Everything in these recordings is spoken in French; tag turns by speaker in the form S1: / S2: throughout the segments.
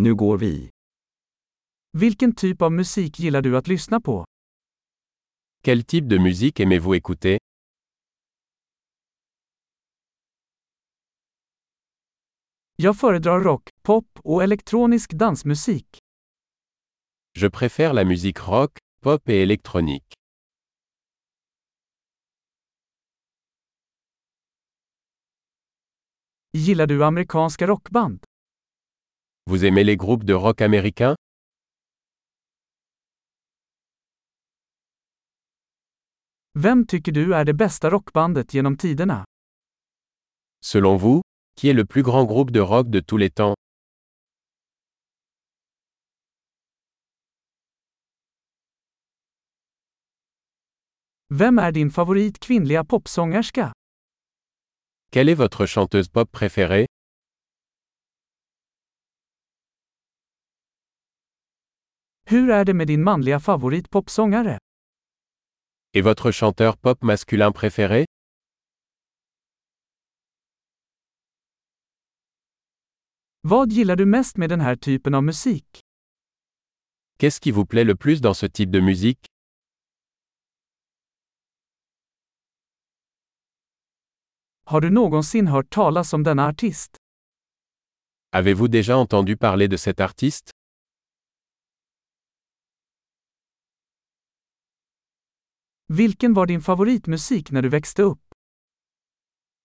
S1: Nu går vi.
S2: Vilken typ av musik gillar du att lyssna på?
S3: Quel type de musique aimez-vous écouter
S2: Jag föredrar rock, pop och elektronisk dansmusik.
S3: Je préfère la musique rock, pop et électronique.
S2: Gillar du amerikanska rockband?
S3: Vous aimez les groupes de rock américains
S2: Vem tycker du är det bästa rockbandet genom tiderna?
S3: Selon vous, qui est le plus grand groupe de rock de tous les temps
S2: Vem är din favorit kvinnliga popsångerska?
S3: Quelle est votre chanteuse pop préférée
S2: Hur är det med din manliga favorit popsångare?
S3: Et votre chanteur pop masculin préféré
S2: Vad gillar du mest med den här typen av musik?
S3: Qu'est-ce qui vous plaît le plus dans ce type de musique
S2: Har du någonsin hört talas om denna artist?
S3: Avez-vous déjà entendu parler de cet artiste
S2: Vilken var din favoritmusik när du växte upp?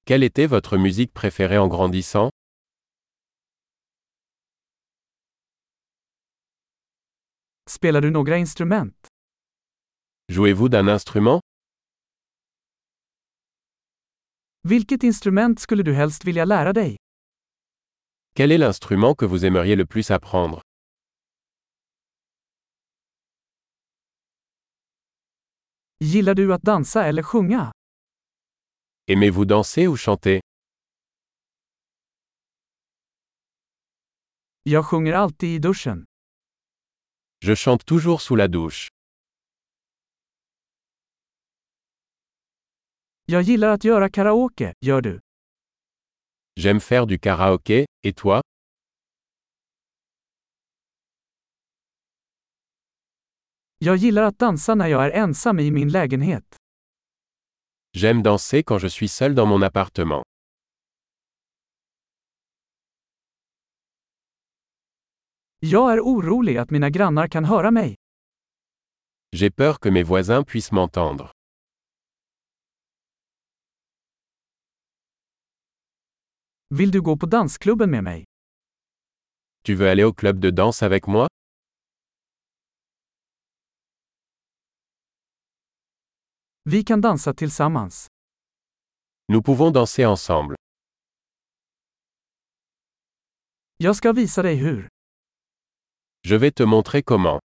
S3: Quelle était votre musique préférée en grandissant
S2: Spelar du några instrument?
S3: Jouez-vous d'un instrument
S2: Vilket instrument skulle du helst vilja lära dig?
S3: Quel est l'instrument que vous aimeriez le plus apprendre
S2: Gillar du att dansa eller sjunga?
S3: Aimez-vous danser ou chanter
S2: Jag sjunger alltid i duschen.
S3: Je chante toujours sous la douche.
S2: Jag gillar att göra karaoke, gör du?
S3: J'aime faire du karaoké, et toi
S2: Jag gillar att dansa när jag är ensam i min lägenhet.
S3: J'aime danser quand je suis seul dans mon appartement.
S2: Jag är orolig att mina grannar kan höra mig.
S3: J'ai peur que mes voisins puissent m'entendre.
S2: Vill du gå på dansklubben med mig?
S3: Tu veux aller au club de danse avec moi
S2: Vi kan dansa tillsammans.
S3: Nous pouvons danser ensemble.
S2: Jag ska visa dig hur.
S3: Je vais te montrer comment.